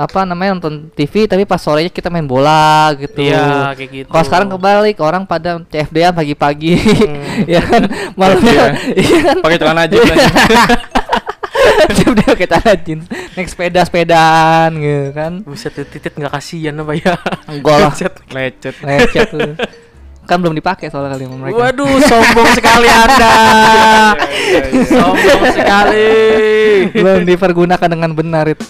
[SPEAKER 2] apa namanya nonton TV, tapi pas sorenya kita main bola gitu.
[SPEAKER 1] Iya, kayak gitu.
[SPEAKER 2] Kalau sekarang kebalik, orang pada CFD-an pagi-pagi,
[SPEAKER 1] Hmm.
[SPEAKER 2] ya kan, malamnya, iya kan,
[SPEAKER 3] pakai celana aja kan.
[SPEAKER 2] CFD pakai celana jeans, naik sepeda-sepedaan gitu kan,
[SPEAKER 1] Buset tuh titit nggak kasihan apa ya?
[SPEAKER 2] Enggak lah.
[SPEAKER 3] Iya,
[SPEAKER 1] Buset.
[SPEAKER 3] lecet
[SPEAKER 2] lecet tuh. kan belum dipakai soalnya kali sama mereka
[SPEAKER 1] Waduh, sombong sekali Anda.
[SPEAKER 3] Iya, iya, iya.
[SPEAKER 1] sombong sekali.
[SPEAKER 2] belum dipergunakan dengan benar itu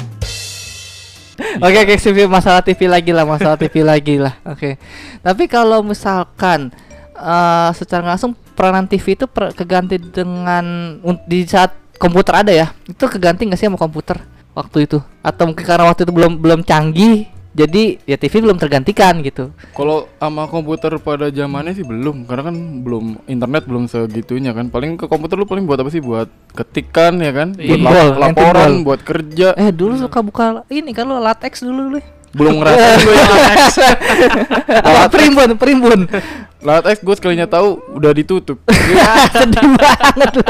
[SPEAKER 2] oke oke sip, sip. masalah TV lagi lah masalah TV lagi lah oke tapi kalau misalkan eh secara nggak langsung peranan TV itu per- keganti dengan un- di saat komputer ada ya itu keganti nggak sih sama komputer waktu itu atau mungkin karena waktu itu belum belum canggih jadi ya TV belum tergantikan gitu
[SPEAKER 3] Kalau sama komputer pada zamannya sih belum, karena kan belum internet belum segitunya kan. Paling ke komputer lu paling buat apa sih? Buat ketikan ya kan? Buat
[SPEAKER 2] Pinball,
[SPEAKER 3] lap- laporan,
[SPEAKER 2] pinball.
[SPEAKER 3] buat kerja.
[SPEAKER 2] eh dulu suka buka ini kan lo latex dulu dulu
[SPEAKER 3] Belum ngerasain ya. gue yang
[SPEAKER 2] apa primbon primbon
[SPEAKER 3] Lalat X gue sekalinya tahu udah ditutup.
[SPEAKER 2] sedih banget lo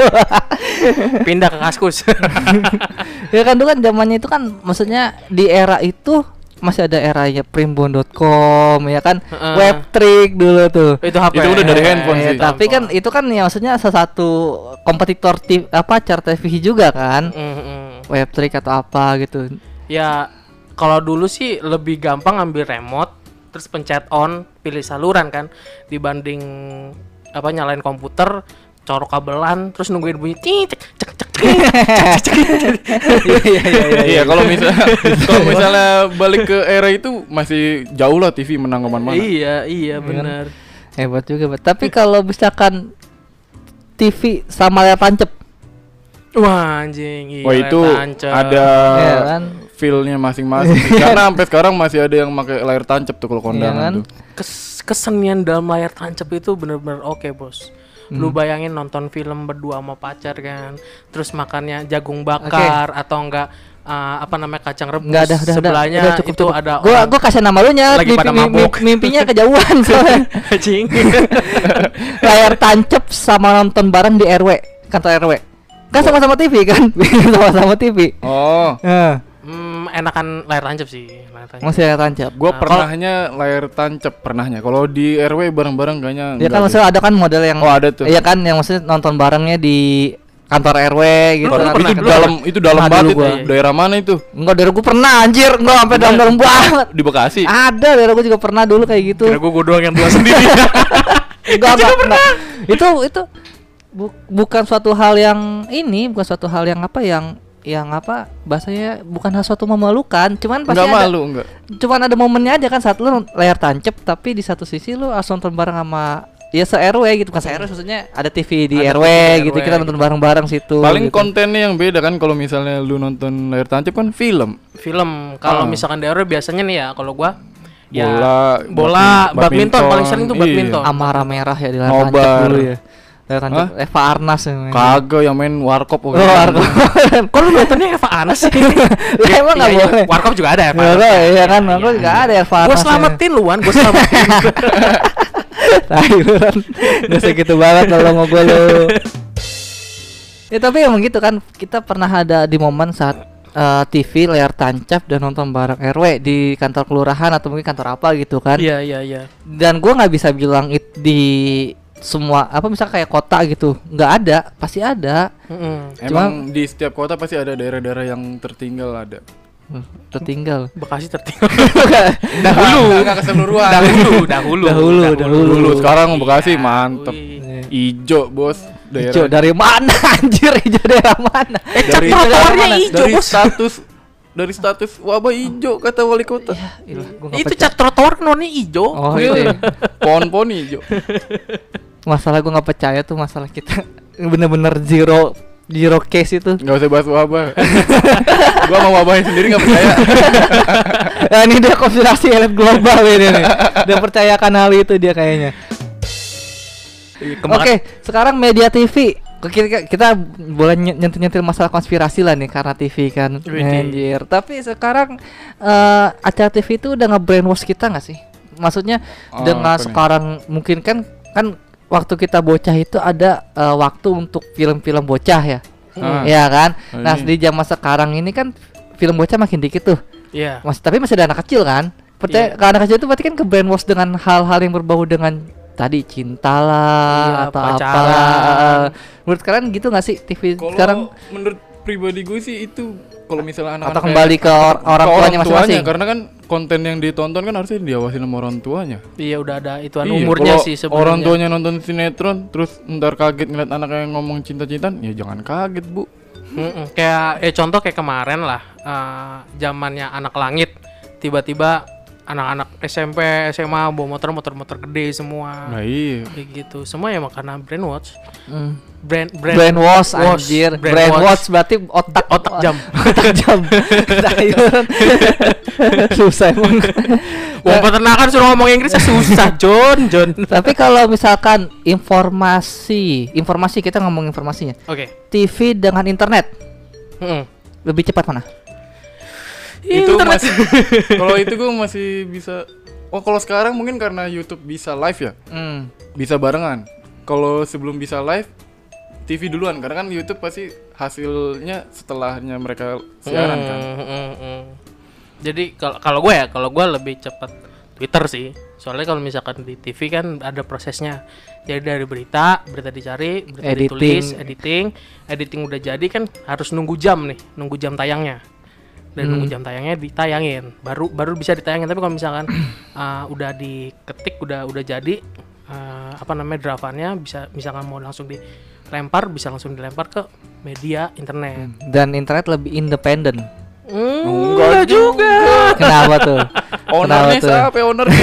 [SPEAKER 1] Pindah ke kaskus.
[SPEAKER 2] ya kan dulu kan zamannya itu kan maksudnya di era itu masih ada eranya primbon.com ya kan
[SPEAKER 1] Heeh.
[SPEAKER 2] webtrick dulu tuh
[SPEAKER 1] itu HP.
[SPEAKER 3] Itu udah dari handphone
[SPEAKER 2] Ya,
[SPEAKER 3] sih.
[SPEAKER 2] tapi kan itu kan ya maksudnya salah satu kompetitor TV, apa acara TV juga kan
[SPEAKER 1] Mm-mm.
[SPEAKER 2] webtrick atau apa gitu
[SPEAKER 1] Ya kalau dulu sih lebih gampang ambil remote terus pencet on pilih saluran kan dibanding apa nyalain komputer corok kabelan terus nungguin bunyi cik cek cek cek cek, cek, cek, cek.
[SPEAKER 3] Iya, kalau misalnya kalau misalnya balik ke era itu masih jauh lah TV menang kemana mana.
[SPEAKER 1] iya iya
[SPEAKER 2] kan?
[SPEAKER 1] benar
[SPEAKER 2] hebat juga Bet. tapi kalau misalkan TV sama layar tancep
[SPEAKER 1] wah anjing
[SPEAKER 3] Wah
[SPEAKER 1] gila,
[SPEAKER 3] itu
[SPEAKER 1] tancep.
[SPEAKER 3] ada
[SPEAKER 2] ya kan
[SPEAKER 3] feel-nya masing-masing. sih. Karena sampai sekarang masih ada yang pakai layar tancap tuh kalau
[SPEAKER 2] Iya kan?
[SPEAKER 3] kondangan tuh.
[SPEAKER 1] Kes- kesenian dalam layar tancap itu bener-bener oke bos
[SPEAKER 3] Hmm.
[SPEAKER 1] lu bayangin nonton film berdua sama pacar kan terus makannya jagung bakar atau enggak eh, apa namanya kacang rebus
[SPEAKER 2] nggak ada udah udah
[SPEAKER 1] sebelahnya
[SPEAKER 2] udah, cukup
[SPEAKER 1] itu
[SPEAKER 2] cukup.
[SPEAKER 1] ada
[SPEAKER 2] gua gua kasih nama lu nya
[SPEAKER 1] Lagi pada mabuk.
[SPEAKER 2] mimpinya kejauhan soalnya
[SPEAKER 1] anjing
[SPEAKER 2] layar tancep sama nonton bareng di RW kantor RW kan sama-sama TV kan
[SPEAKER 3] Iya.
[SPEAKER 2] sama-sama TV
[SPEAKER 3] Oh,
[SPEAKER 2] Heeh.
[SPEAKER 1] hmm, enakan layar tancap sih layar tancap.
[SPEAKER 2] masih layar tancep
[SPEAKER 3] gua pernahnya layar tancap pernahnya. Kalau di RW bareng-bareng kayaknya
[SPEAKER 2] ya
[SPEAKER 3] enggak
[SPEAKER 2] kan
[SPEAKER 3] deh.
[SPEAKER 2] maksudnya ada kan model yang
[SPEAKER 3] Oh, ada tuh.
[SPEAKER 2] iya kan yang maksudnya nonton barengnya di kantor RW gitu
[SPEAKER 1] Lu
[SPEAKER 2] kan.
[SPEAKER 1] pernah-
[SPEAKER 3] itu
[SPEAKER 1] lu
[SPEAKER 3] dalam itu dalam
[SPEAKER 2] Pernah
[SPEAKER 3] banget
[SPEAKER 2] dulu
[SPEAKER 3] itu.
[SPEAKER 2] gua.
[SPEAKER 3] Daerah mana itu?
[SPEAKER 2] enggak dari gua pernah anjir enggak sampai dalam-dalam banget
[SPEAKER 3] Di Bekasi.
[SPEAKER 2] ada dari gua juga pernah dulu kayak gitu
[SPEAKER 1] kira gue gue doang yang tua sendiri
[SPEAKER 2] Enggak, enggak, enggak. Itu itu bu- bukan suatu hal yang ini, bukan suatu hal yang apa yang yang apa bahasanya bukan hal suatu memalukan, cuman pasti ada
[SPEAKER 3] Enggak malu enggak.
[SPEAKER 2] cuman ada momennya aja kan saat lu layar tancep tapi di satu sisi lu harus nonton bareng sama ya se RW gitu kan se RW maksudnya ada TV di
[SPEAKER 1] Ada
[SPEAKER 2] RW
[SPEAKER 1] TV di
[SPEAKER 2] gitu
[SPEAKER 1] RW,
[SPEAKER 2] kita nonton bareng-bareng situ
[SPEAKER 3] Paling
[SPEAKER 2] gitu.
[SPEAKER 3] kontennya yang beda kan kalau misalnya lu nonton layar tancap kan film.
[SPEAKER 1] film kalau misalkan daerah biasanya nih ya kalau gua ya
[SPEAKER 3] Ah. Bola,
[SPEAKER 1] bola
[SPEAKER 3] badmin-
[SPEAKER 1] badminton, paling sering tuh
[SPEAKER 3] badminton. Iya.
[SPEAKER 1] badminton
[SPEAKER 2] Amara merah ya di layar tancep
[SPEAKER 3] Nobar.
[SPEAKER 2] dulu ya. Layar tancep Eva Arnas yang main.
[SPEAKER 3] Kagak yang main warkop
[SPEAKER 2] Iya.
[SPEAKER 3] gitu.
[SPEAKER 2] Oh, Argo.
[SPEAKER 1] Kok lu nontonnya Eva Anas sih?
[SPEAKER 2] Lah, emang
[SPEAKER 1] Iya,
[SPEAKER 2] nggak
[SPEAKER 1] iya.
[SPEAKER 2] boleh?
[SPEAKER 1] Warkop juga ada Eva
[SPEAKER 2] Nggak
[SPEAKER 1] Anas.
[SPEAKER 2] boleh, iya kan? Nggak boleh, nggak ada Eva ya.
[SPEAKER 1] Gue
[SPEAKER 2] Arnasnya.
[SPEAKER 1] selamatin lu Wan, gue selamatin
[SPEAKER 2] Tai lu kan Gak segitu banget kalau mau gue lu Ya tapi emang gitu kan Kita pernah ada di momen saat eh, TV layar tancap dan nonton bareng RW di kantor kelurahan atau mungkin kantor apa gitu kan
[SPEAKER 1] Iya iya iya
[SPEAKER 2] dan gua nggak bisa bilang it di semua apa misal kayak kota gitu nggak ada pasti ada
[SPEAKER 1] Mm-mm.
[SPEAKER 3] Emang di setiap kota pasti ada daerah-daerah yang tertinggal ada.
[SPEAKER 2] Hmm, tertinggal
[SPEAKER 1] Bekasi tertinggal
[SPEAKER 3] Dahulu, enggak keseluruhan.
[SPEAKER 1] Dahulu Dahulu
[SPEAKER 2] Dahulu,
[SPEAKER 3] Dulu,
[SPEAKER 2] dahulu.
[SPEAKER 3] sekarang Bekasi
[SPEAKER 1] Iya.
[SPEAKER 3] mantep.
[SPEAKER 1] Wih.
[SPEAKER 3] Ijo, Bos. Daerah.
[SPEAKER 2] Ijo dari mana anjir hijau daerah mana
[SPEAKER 1] Eh cat
[SPEAKER 3] Dari-
[SPEAKER 1] trotoarnya
[SPEAKER 3] Mana?
[SPEAKER 1] hijau
[SPEAKER 3] dari
[SPEAKER 1] bos
[SPEAKER 3] status dari status wabah hijau kata wali kota.
[SPEAKER 2] Ilah, gua nggak
[SPEAKER 1] Itu
[SPEAKER 2] percaya.
[SPEAKER 1] cat Gitu. trotoar kan warnanya hijau
[SPEAKER 2] oh itu ya.
[SPEAKER 3] Pohon-pohon hijau.
[SPEAKER 2] masalah gua nggak percaya tuh masalah kita bener-bener zero zero case itu
[SPEAKER 3] Enggak usah bahas wabah. Gua mau wabahnya sendiri enggak percaya.
[SPEAKER 2] nah, ini dia konspirasi elit global ini nih udah percayakan hal itu dia kayaknya oke Iya,
[SPEAKER 1] Oke
[SPEAKER 2] sekarang media TV kita, kita boleh ny- nyentil-nyentil masalah konspirasi lah nih karena TV kan
[SPEAKER 1] Wih,
[SPEAKER 2] anjir tapi sekarang eh, acara TV itu udah nge-brainwash kita nggak sih maksudnya
[SPEAKER 3] Oh,
[SPEAKER 2] dengan
[SPEAKER 3] apa nih?
[SPEAKER 2] sekarang mungkin kan kan waktu kita bocah itu ada eh, waktu untuk film-film bocah ya
[SPEAKER 3] Ah.
[SPEAKER 2] Iya kan?
[SPEAKER 3] Oh,
[SPEAKER 2] Nah,
[SPEAKER 3] ini.
[SPEAKER 2] di zaman sekarang ini kan film bocah makin dikit tuh.
[SPEAKER 1] Iya
[SPEAKER 2] Masih tapi masih ada anak kecil kan? Percaya
[SPEAKER 1] Iya.
[SPEAKER 2] ke anak kecil itu berarti kan ke brainwash dengan hal-hal yang berbau dengan tadi cinta lah
[SPEAKER 1] Iya,
[SPEAKER 2] atau
[SPEAKER 1] pacaran.
[SPEAKER 2] apa. Menurut kalian gitu nggak sih TV
[SPEAKER 3] Kalau
[SPEAKER 2] sekarang?
[SPEAKER 3] menurut pribadi gue sih itu kalau misalnya anak-anak
[SPEAKER 2] atau
[SPEAKER 3] kayak-
[SPEAKER 2] kembali ke or- orang
[SPEAKER 3] ke
[SPEAKER 2] tuanya masing-masing
[SPEAKER 3] karena kan konten yang ditonton kan harusnya diawasi sama orang tuanya.
[SPEAKER 1] Iya udah ada ituan
[SPEAKER 3] Iya,
[SPEAKER 1] umurnya
[SPEAKER 3] kalau
[SPEAKER 1] sih sebenarnya.
[SPEAKER 3] Orang tuanya nonton sinetron terus ntar kaget ngeliat anaknya yang ngomong cinta-cintaan, ya jangan kaget, Bu.
[SPEAKER 1] Mm-mm. Kayak eh contoh kayak kemarin lah eh, zamannya anak langit tiba-tiba anak-anak SMP, SMA bawa motor motor-motor gede semua.
[SPEAKER 2] Ah.
[SPEAKER 3] Nah, iya.
[SPEAKER 1] Kayak gitu. Semua ya karena brainwash.
[SPEAKER 2] Hmm.
[SPEAKER 1] Brand brand
[SPEAKER 2] brainwash
[SPEAKER 1] wash,
[SPEAKER 2] anjir
[SPEAKER 1] brainwash.
[SPEAKER 2] brainwash berarti otak
[SPEAKER 1] Otak jam.
[SPEAKER 2] otak jam Sayuran. susah emang
[SPEAKER 1] Wong peternakan suruh ngomong Inggris ya susah, John, John. Oke.
[SPEAKER 2] tapi kalau misalkan informasi informasi kita ngomong informasinya TV dengan internet
[SPEAKER 1] Mm-mm.
[SPEAKER 2] lebih cepat mana Iya,
[SPEAKER 3] Itu
[SPEAKER 1] Hmm. Internet.
[SPEAKER 3] masih Kalau itu gue masih bisa Oh, kalau sekarang mungkin karena YouTube bisa live ya.
[SPEAKER 1] Hmm.
[SPEAKER 3] Bisa barengan. Kalau sebelum bisa live TV duluan karena kan YouTube pasti hasilnya setelahnya mereka siaran
[SPEAKER 2] Hmm.
[SPEAKER 3] kan.
[SPEAKER 1] Mm, mm, mm. Jadi kalau kalau gue ya, kalau gue lebih cepat Twitter sih. Soalnya kalau misalkan di TV kan ada prosesnya. Jadi dari berita, berita dicari, berita
[SPEAKER 2] Editing.
[SPEAKER 1] ditulis, editing, editing udah jadi kan harus nunggu jam nih, nunggu jam tayangnya. Dan nunggu jam tayangnya ditayangin, baru baru bisa ditayangin. Tapi kalau misalkan uh, udah diketik, udah udah jadi uh, apa namanya drafannya bisa misalkan mau langsung dilempar bisa langsung dilempar ke media internet.
[SPEAKER 2] dan internet lebih independen
[SPEAKER 1] Hmm, enggak juga.
[SPEAKER 2] kenapa tuh
[SPEAKER 1] Oh,
[SPEAKER 2] Ya.
[SPEAKER 3] Ownernya siapa? Ownernya.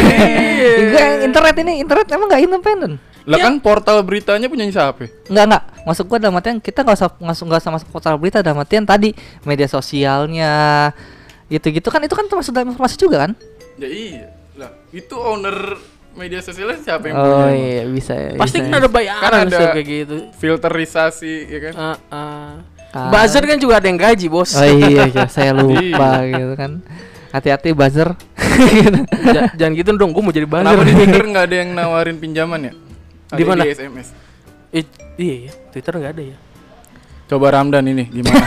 [SPEAKER 2] Enggak, yang internet ini internet emang nggak independen
[SPEAKER 3] Lah kan portal beritanya punya siapa?
[SPEAKER 2] Enggak enggak, maksud gua dalam artian kita nggak usah nggak usah nggak usah masuk portal berita dalam artian tadi media sosialnya gitu-gitu kan itu kan termasuk dalam informasi juga kan?
[SPEAKER 3] Ya iya. Lah, itu owner media sosialnya siapa yang
[SPEAKER 2] Oh
[SPEAKER 3] punya?
[SPEAKER 2] iya bisa.
[SPEAKER 1] Pasti
[SPEAKER 2] bisa.
[SPEAKER 1] kan ada bayaran
[SPEAKER 3] Kan ada-
[SPEAKER 1] Ustaz, kayak gitu.
[SPEAKER 3] Filterisasi ya kan?
[SPEAKER 1] Heeh.
[SPEAKER 2] Ah.
[SPEAKER 1] Buzzer kan juga ada yang gaji, Bos.
[SPEAKER 2] Oh iya, iya saya lupa
[SPEAKER 1] Iya.
[SPEAKER 2] gitu kan. Hati-hati buzzer. Gitu.
[SPEAKER 1] Ja- Jangan gitu dong, gue mau jadi
[SPEAKER 3] Kenapa
[SPEAKER 1] buzzer.
[SPEAKER 3] di Twitter nggak ada yang nawarin pinjaman ya? Ada
[SPEAKER 1] Di mana?
[SPEAKER 3] Di SMS.
[SPEAKER 1] Ih, iya, iya, Twitter nggak ada ya.
[SPEAKER 3] Coba Ramdan ini gimana?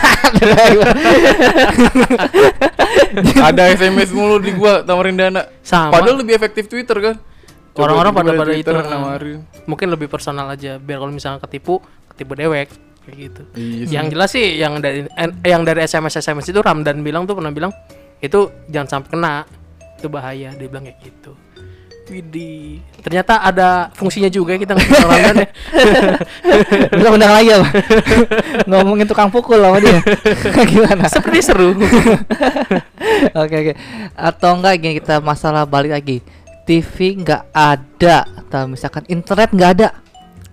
[SPEAKER 3] ada SMS mulu di gua tawarin dana.
[SPEAKER 1] Sama.
[SPEAKER 3] Padahal lebih efektif Twitter kan? Coba
[SPEAKER 1] Orang-orang
[SPEAKER 3] gimana
[SPEAKER 1] pada- pada
[SPEAKER 3] Twitter
[SPEAKER 1] itu, kan.
[SPEAKER 3] nawarin.
[SPEAKER 1] Mungkin lebih personal aja biar kalau misalnya ketipu, ketipu dewek kayak gitu.
[SPEAKER 3] Iya. sih.
[SPEAKER 1] Yang jelas sih yang dari en- yang dari SMS SMS itu Ramdan bilang tuh pernah bilang itu jangan sampai kena. Itu bahaya dia bilang kayak gitu. Widih, ternyata ada fungsinya juga kita ngasih Ramdan ya.
[SPEAKER 2] Bisa undang lagi apa? Ngomongin tukang pukul sama dia. Gimana?
[SPEAKER 1] Seperti seru.
[SPEAKER 2] Oke oke. Atau enggak gini kita masalah balik lagi. TV nggak ada, atau misalkan internet nggak ada.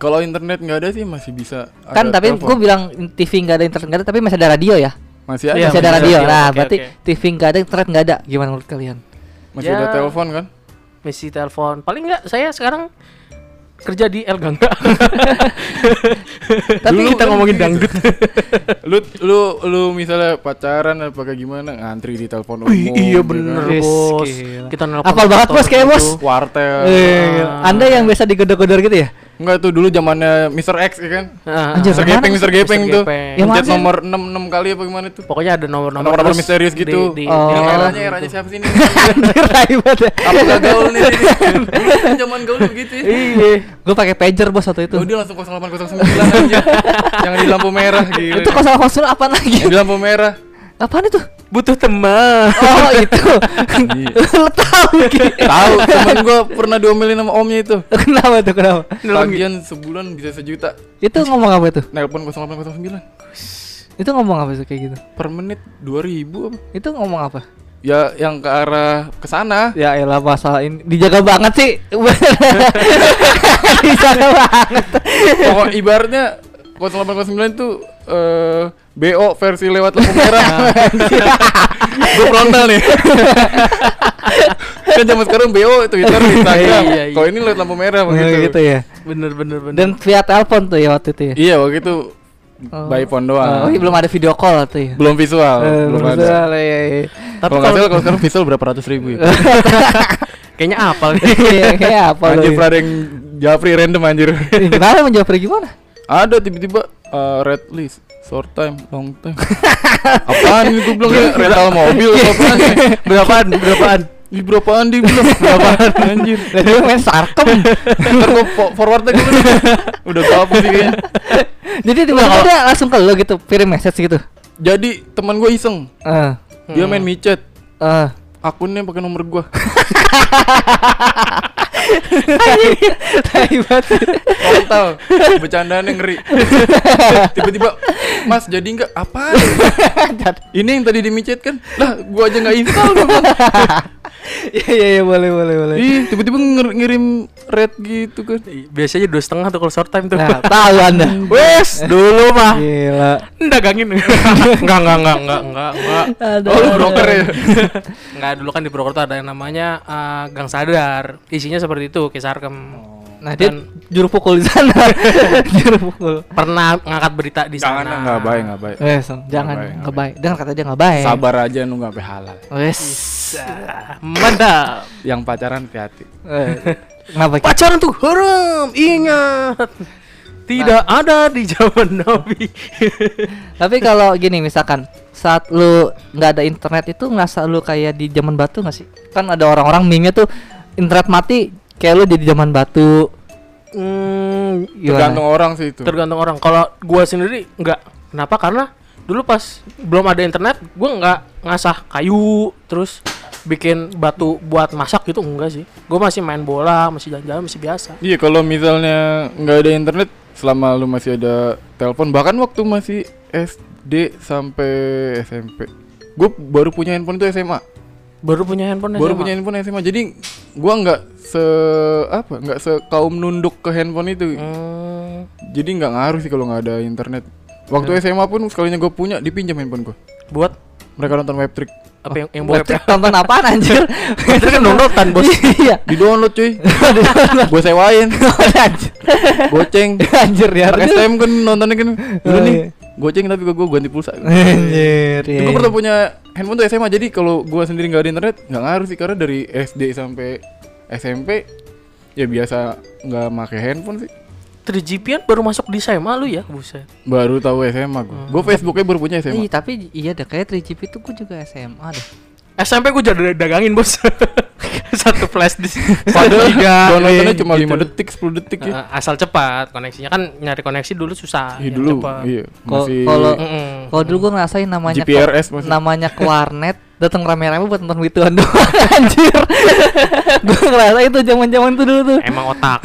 [SPEAKER 3] Kalau internet nggak ada sih masih bisa.
[SPEAKER 2] kan
[SPEAKER 3] ada
[SPEAKER 2] tapi
[SPEAKER 3] telepon.
[SPEAKER 2] gue bilang TV nggak ada internet nggak ada tapi masih ada radio ya
[SPEAKER 3] masih ada,
[SPEAKER 1] Iya,
[SPEAKER 2] masih ada
[SPEAKER 1] masih
[SPEAKER 2] radio
[SPEAKER 1] ada.
[SPEAKER 2] nah
[SPEAKER 1] Oke,
[SPEAKER 2] berarti
[SPEAKER 1] oke.
[SPEAKER 2] TV nggak ada internet nggak ada gimana menurut kalian
[SPEAKER 3] masih ada
[SPEAKER 1] Ya.
[SPEAKER 3] telepon kan?
[SPEAKER 1] Mesti telepon. Paling nggak saya sekarang kerja di El Gangga.
[SPEAKER 2] tapi
[SPEAKER 3] Dulu
[SPEAKER 1] kita
[SPEAKER 3] kan
[SPEAKER 1] ngomongin
[SPEAKER 3] gitu.
[SPEAKER 1] dangdut.
[SPEAKER 3] lu lu lu misalnya pacaran apa kayak gimana ngantri di telepon umum.
[SPEAKER 1] Wih,
[SPEAKER 3] ya
[SPEAKER 1] iya
[SPEAKER 3] kan?
[SPEAKER 1] bener
[SPEAKER 2] Yes,
[SPEAKER 1] bos.
[SPEAKER 2] gila.
[SPEAKER 1] Kita nelpon.
[SPEAKER 2] apal banget bos kayak bos
[SPEAKER 3] Wartel.
[SPEAKER 1] Iya.
[SPEAKER 2] Eh, anda yang biasa digodor-godor gitu ya
[SPEAKER 3] Enggak tuh dulu zamannya Mr. X ya kan?
[SPEAKER 2] Anjir, Yang
[SPEAKER 3] Mr.
[SPEAKER 2] mana?
[SPEAKER 3] Gepeng, Mr. Gepeng
[SPEAKER 1] Mr.
[SPEAKER 3] tuh.
[SPEAKER 1] Gepeng. Ya,
[SPEAKER 2] Yang
[SPEAKER 3] Pencet
[SPEAKER 2] mana?
[SPEAKER 3] nomor 6 6 kali apa gimana tuh?
[SPEAKER 1] Pokoknya ada nomor-nomor
[SPEAKER 3] Nomor-nomor
[SPEAKER 1] terus
[SPEAKER 3] misterius
[SPEAKER 1] di-
[SPEAKER 3] gitu.
[SPEAKER 1] di- di-
[SPEAKER 2] Oh.
[SPEAKER 3] Ini eranya
[SPEAKER 1] gitu.
[SPEAKER 3] eranya siapa sih ini?
[SPEAKER 2] Anjir, tai banget ya.
[SPEAKER 3] Apa gak gaul nih sini? Dulu kan zaman gaul begitu ya.
[SPEAKER 2] iya gue pakai pager bos waktu itu
[SPEAKER 3] Oh, dia langsung 0809 aja. Jangan di lampu merah gila.
[SPEAKER 2] itu kosong kosong apaan lagi
[SPEAKER 3] Yang Di lampu merah.
[SPEAKER 2] apaan itu
[SPEAKER 1] Butuh teman.
[SPEAKER 2] oh itu lo tahu Ki.
[SPEAKER 3] Tahu, temen gua pernah diomelin sama omnya itu.
[SPEAKER 2] kenapa tuh kenapa
[SPEAKER 3] Tagihan sebulan bisa sejuta.
[SPEAKER 2] itu ngomong apa itu
[SPEAKER 3] Nelpon 0809
[SPEAKER 2] itu ngomong apa sih kayak gitu
[SPEAKER 3] per menit 2000 apa?
[SPEAKER 2] itu ngomong apa
[SPEAKER 3] Ya yang ke arah ke sana.
[SPEAKER 2] Ya elah masalah ini dijaga banget sih. dijaga banget.
[SPEAKER 3] Pokok ibaratnya 0809 tuh eh BO versi lewat lampu
[SPEAKER 2] Nah.
[SPEAKER 3] merah. Gue frontal nih. kan zaman sekarang BO Twitter Instagram.
[SPEAKER 1] Iya, iya.
[SPEAKER 3] Kalau ini lewat lampu merah
[SPEAKER 2] Oh,
[SPEAKER 3] begitu.
[SPEAKER 2] gitu ya.
[SPEAKER 1] Bener bener bener.
[SPEAKER 2] Dan via telepon tuh ya waktu itu ya.
[SPEAKER 3] Iya waktu itu
[SPEAKER 2] Oh.
[SPEAKER 3] by phone
[SPEAKER 2] Oh,
[SPEAKER 3] doang.
[SPEAKER 2] iya, belum ada video call tuh ya.
[SPEAKER 3] belum visual,
[SPEAKER 2] Eh,
[SPEAKER 3] belum
[SPEAKER 2] belum
[SPEAKER 3] ada.
[SPEAKER 2] ada, ya,
[SPEAKER 1] Tapi
[SPEAKER 2] ya.
[SPEAKER 3] Kalau nggak
[SPEAKER 1] kalau-
[SPEAKER 3] salah kalau sekarang visual berapa ratus ribu ya?
[SPEAKER 1] kayaknya apal nih.
[SPEAKER 2] Iya, kayak apa lu?
[SPEAKER 3] anjir
[SPEAKER 2] ya?
[SPEAKER 3] pernah ada yang Japri random anjir.
[SPEAKER 2] Ih, Kenapa emang Jafri gimana?
[SPEAKER 3] ada tiba-tiba eh, red list, short time, long time. apaan ini gue bilang ya rental mobil apaan? ya?
[SPEAKER 1] Berapaan? Berapaan?
[SPEAKER 3] Di berapaan di bilang berapaan anjir.
[SPEAKER 2] Lah dia main sarkem.
[SPEAKER 3] Ntar gue forwardnya gue udah udah gabung sih kayaknya.
[SPEAKER 2] Jadi tiba-tiba dia langsung ke lu gitu, kirim message gitu.
[SPEAKER 3] Jadi teman gue iseng,
[SPEAKER 2] Eh,
[SPEAKER 1] Iya,
[SPEAKER 3] dia
[SPEAKER 1] Hmm.
[SPEAKER 3] main micet,
[SPEAKER 2] eh.
[SPEAKER 3] akunnya pakai nomor gue.
[SPEAKER 2] Tai banget.
[SPEAKER 3] Total, bercandaannya ngeri. Tiba-tiba, Mas jadi nggak apa? Ini yang tadi dimicet kan? Lah, gue aja nggak install dong.
[SPEAKER 2] Iya iya iya boleh boleh boleh.
[SPEAKER 3] Ih, tiba-tiba nger- ngirim red gitu kan?
[SPEAKER 1] Biasanya dua setengah tuh kalau short time tuh.
[SPEAKER 2] Nah, Iya. tahu Anda.
[SPEAKER 1] Wes, dulu mah
[SPEAKER 2] Gila.
[SPEAKER 1] dagangin. Enggak, enggak, enggak, enggak, enggak, enggak.
[SPEAKER 2] Aduh.
[SPEAKER 3] Oh, lu broker ya?
[SPEAKER 1] Enggak, dulu kan di broker tuh ada yang namanya eh, Gang Sadar. Isinya seperti itu, Kisarkem.
[SPEAKER 3] Oh.
[SPEAKER 2] Nah, dia
[SPEAKER 1] Dan-
[SPEAKER 2] juru pukul di sana. juru pukul.
[SPEAKER 1] Pernah ngangkat berita di
[SPEAKER 3] Jangan,
[SPEAKER 1] sana.
[SPEAKER 3] nggak baik, nggak baik.
[SPEAKER 2] Wes, jangan
[SPEAKER 3] baik,
[SPEAKER 2] nggak baik. Dengar kata dia nggak baik.
[SPEAKER 3] Sabar aja nunggu sampai halal.
[SPEAKER 2] Wes.
[SPEAKER 1] Bisa. Mantap.
[SPEAKER 3] Yang pacaran hati-hati.
[SPEAKER 2] Eh, Kenapa? Ki?
[SPEAKER 1] Pacaran tuh haram, ingat. Tidak ada di zaman Nabi.
[SPEAKER 2] Tapi kalau gini misalkan saat lu nggak ada internet itu ngerasa lu kayak di zaman batu nggak sih? Kan ada orang-orang meme-nya tuh internet mati kayak lu jadi zaman batu.
[SPEAKER 1] Hmm,
[SPEAKER 3] Tergantung orang sih itu.
[SPEAKER 1] tergantung orang. Kalau gua sendiri enggak. Kenapa? Karena dulu pas belum ada internet, gua enggak ngasah kayu, terus bikin batu buat masak gitu enggak sih. Gua masih main bola, masih jalan-jalan, masih biasa.
[SPEAKER 3] Iya kalau misalnya nggak ada internet selama lu masih ada telepon bahkan waktu masih SD sampai SMP gue baru punya handphone itu SMA
[SPEAKER 1] Baru punya handphone SMA.
[SPEAKER 3] baru punya handphone SMA jadi gua nggak se apa nggak sekaum nunduk ke handphone itu
[SPEAKER 1] Hmm,
[SPEAKER 3] jadi nggak ngaruh sih kalau nggak ada internet waktu SMA pun sekalinya gue punya dipinjam handphone gue
[SPEAKER 1] buat
[SPEAKER 3] mereka nonton web trick
[SPEAKER 1] apa yang yang
[SPEAKER 2] Web
[SPEAKER 1] bokep ya?
[SPEAKER 2] trick tonton apaan anjir?
[SPEAKER 1] Itu kan downloadan, Bos.
[SPEAKER 2] Iya.
[SPEAKER 3] di download cuy gue sewain
[SPEAKER 2] anjir.
[SPEAKER 3] goceng
[SPEAKER 2] Anjir ya.
[SPEAKER 3] anak STM kan nontonnya kan dulu
[SPEAKER 2] Oh,
[SPEAKER 3] nih
[SPEAKER 2] iya.
[SPEAKER 3] goceng tapi gue ganti pulsa
[SPEAKER 2] Anjir. iya,
[SPEAKER 3] Gue
[SPEAKER 2] iya.
[SPEAKER 3] pernah punya handphone tuh SMA jadi kalau gua sendiri nggak ada internet nggak ngaruh sih karena dari SD sampai SMP ya biasa nggak pakai handphone sih
[SPEAKER 1] 3GP-an baru masuk di SMA lu ya, buset.
[SPEAKER 3] baru tahu SMA gue gue Facebooknya baru punya
[SPEAKER 2] Oh. Ih,
[SPEAKER 3] SMA
[SPEAKER 2] tapi iya deh kayak 3GP itu gue juga SMA deh.
[SPEAKER 1] SMP gue jadi dagangin bos satu flash disk
[SPEAKER 3] padahal
[SPEAKER 1] Giga,
[SPEAKER 3] downloadnya
[SPEAKER 2] eh,
[SPEAKER 1] gitu.
[SPEAKER 3] cuma 5 detik 10 detik ya
[SPEAKER 1] Heeh, Eh, asal cepat koneksinya kan nyari koneksi dulu
[SPEAKER 2] Ah,
[SPEAKER 1] susah
[SPEAKER 3] Ih,
[SPEAKER 1] yang
[SPEAKER 3] dulu
[SPEAKER 1] cepat.
[SPEAKER 3] iya
[SPEAKER 2] Ko-
[SPEAKER 3] masih
[SPEAKER 2] kalau
[SPEAKER 1] Mm-mm.
[SPEAKER 2] Kalau dulu gue ngerasain namanya ke-
[SPEAKER 3] GPRS masih
[SPEAKER 2] namanya ke warnet datang rame-rame buat nonton gituan doang anjir. gue ngerasa itu zaman-zaman tuh dulu tuh.
[SPEAKER 1] emang otak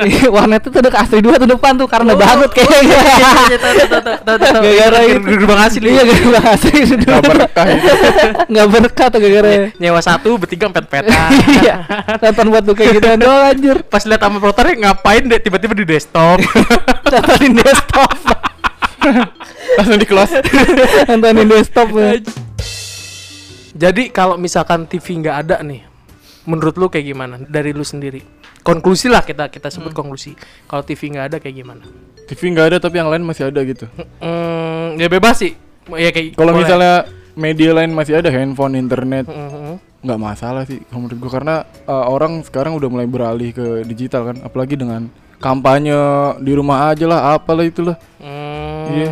[SPEAKER 2] Ih, warnet itu udah ke Astri 2 tuh depan tuh karena banget kayaknya. Gara-gara
[SPEAKER 1] gara-gara
[SPEAKER 2] itu.
[SPEAKER 1] gerbang asli
[SPEAKER 2] Iya gara-gara Astri
[SPEAKER 3] nggak
[SPEAKER 2] 2.
[SPEAKER 3] berkah itu.
[SPEAKER 2] Enggak berkat tuh gara-gara. ya.
[SPEAKER 1] nyewa satu bertiga pet petan
[SPEAKER 2] Iya. Nonton buat tuh kayak gituan doang anjir.
[SPEAKER 1] pas lihat sama protar ngapain deh tiba-tiba di desktop
[SPEAKER 2] Nontonin desktop.
[SPEAKER 3] langsung di kelas
[SPEAKER 2] Nontonin desktop. ya.
[SPEAKER 1] jadi kalau misalkan TV nggak ada nih menurut lu kayak gimana dari lu sendiri konklusi lah kita kita sebut konklusi kalau TV nggak ada kayak gimana
[SPEAKER 3] TV nggak ada tapi yang lain masih ada gitu
[SPEAKER 1] Hmm, ya bebas sih. Ya kayak
[SPEAKER 3] kalau
[SPEAKER 1] boleh.
[SPEAKER 3] misalnya media lain masih ada handphone internet
[SPEAKER 1] Mhm.
[SPEAKER 3] nggak masalah sih kalau menurut gue karena uh, orang sekarang udah mulai beralih ke digital kan apalagi dengan kampanye di rumah aja lah apalah itulah
[SPEAKER 1] Hmm.
[SPEAKER 3] Iya.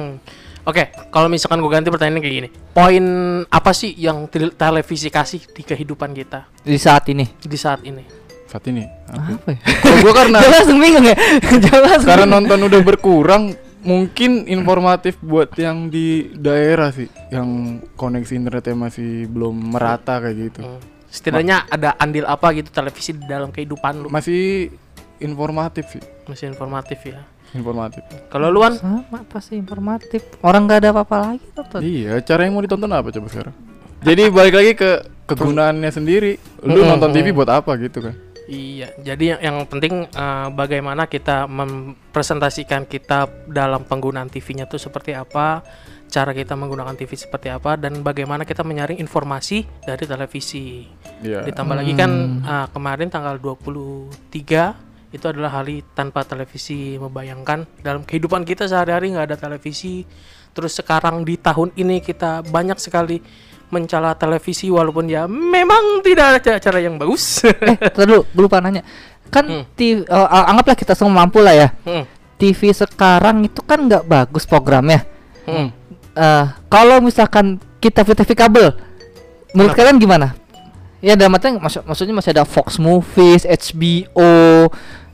[SPEAKER 1] Oke, kalau misalkan gue ganti pertanyaannya kayak gini. Poin apa sih yang tel- televisi kasih di kehidupan kita
[SPEAKER 2] Di saat ini.
[SPEAKER 1] di saat ini?
[SPEAKER 3] saat ini apa?
[SPEAKER 2] Apa ya?
[SPEAKER 3] kalau gue karena
[SPEAKER 2] Jangan langsung bingung ya. Jangan langsung.
[SPEAKER 3] sekarang nonton udah berkurang mungkin informatif buat yang di daerah sih yang koneksi internetnya masih belum merata kayak gitu
[SPEAKER 1] Hmm. Setidaknya ada andil apa gitu televisi di dalam kehidupan lu?
[SPEAKER 3] masih informatif sih
[SPEAKER 1] Masih informatif ya.
[SPEAKER 3] informatif
[SPEAKER 1] Kalau luan
[SPEAKER 2] sama pasti informatif orang nggak ada apa-apa lagi tuh
[SPEAKER 3] Iya, cara yang mau ditonton apa coba sekarang? Jadi balik lagi ke kegunaannya sendiri. Lu
[SPEAKER 1] Mm-mm.
[SPEAKER 3] nonton TV buat apa gitu kan?
[SPEAKER 1] Iya, jadi yang, yang penting eh, bagaimana kita mempresentasikan kita dalam penggunaan TV-nya itu seperti apa, cara kita menggunakan TV seperti apa, dan bagaimana kita menyaring informasi dari televisi.
[SPEAKER 3] Iya.
[SPEAKER 1] Ditambah lagi kan eh, kemarin tanggal 23 itu adalah hari tanpa televisi. Membayangkan dalam kehidupan kita sehari-hari nggak ada televisi. Terus sekarang di tahun ini kita banyak sekali mencela televisi walaupun ya memang tidak ada acara yang bagus.
[SPEAKER 2] eh terlalu lupa nanya kan
[SPEAKER 1] Hmm.
[SPEAKER 2] TV eh, eh, anggaplah kita semua mampu lah ya
[SPEAKER 1] Hmm.
[SPEAKER 2] TV sekarang itu kan nggak bagus programnya
[SPEAKER 1] Hmm.
[SPEAKER 2] Eh, kalau misalkan kita punya TV kabel menurut kalian gimana ya dalam artian maksud- maksudnya masih ada Fox Movies HBO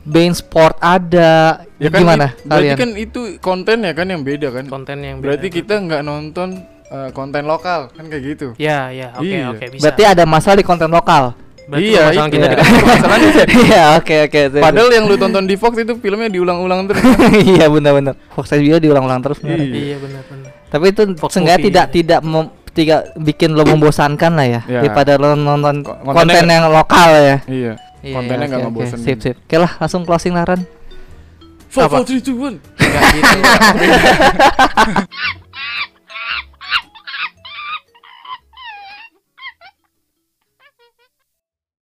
[SPEAKER 2] Bane Sport ada.
[SPEAKER 3] Ya kan
[SPEAKER 2] Gimana
[SPEAKER 3] it- berarti
[SPEAKER 2] kalian?
[SPEAKER 3] kan itu kontennya kan yang beda kan.
[SPEAKER 1] konten yang beda.
[SPEAKER 3] berarti kita nggak nonton eh, konten lokal kan kayak gitu.
[SPEAKER 1] Ya, ya, oke,
[SPEAKER 3] Iya.
[SPEAKER 1] oke, bisa.
[SPEAKER 2] Berarti ada masalah di konten lokal.
[SPEAKER 1] Berarti
[SPEAKER 3] Iya,
[SPEAKER 1] permasalahan
[SPEAKER 3] itu.
[SPEAKER 1] kita
[SPEAKER 3] Iya.
[SPEAKER 1] di konten.
[SPEAKER 3] Masalahnya sih.
[SPEAKER 2] Iya, oke oke.
[SPEAKER 3] Padahal yang lu tonton di Fox itu filmnya diulang-ulang terus.
[SPEAKER 2] iya benar-benar. Fox HBO diulang-ulang terus. benar.
[SPEAKER 3] Iya.
[SPEAKER 1] Iya, benar-benar.
[SPEAKER 2] Tapi itu
[SPEAKER 1] Fox
[SPEAKER 2] seenggaknya
[SPEAKER 1] Movie,
[SPEAKER 2] tidak
[SPEAKER 1] iya.
[SPEAKER 2] tidak mem- tidak bikin lo membosankan lah ya,
[SPEAKER 3] Ya.
[SPEAKER 2] daripada lo nonton
[SPEAKER 3] Ko- kontennya
[SPEAKER 2] konten
[SPEAKER 3] nggak-
[SPEAKER 2] yang lokal ya.
[SPEAKER 3] iya.
[SPEAKER 2] Iya,
[SPEAKER 3] Kontennya
[SPEAKER 2] iya,
[SPEAKER 3] nggak
[SPEAKER 2] oke, oke.
[SPEAKER 3] ngebosenin.
[SPEAKER 2] Sip, sip. Oke lah, langsung closing lah Ran.
[SPEAKER 3] Four,
[SPEAKER 1] Apa?
[SPEAKER 3] four, three, two, one.
[SPEAKER 1] Nggak gitu.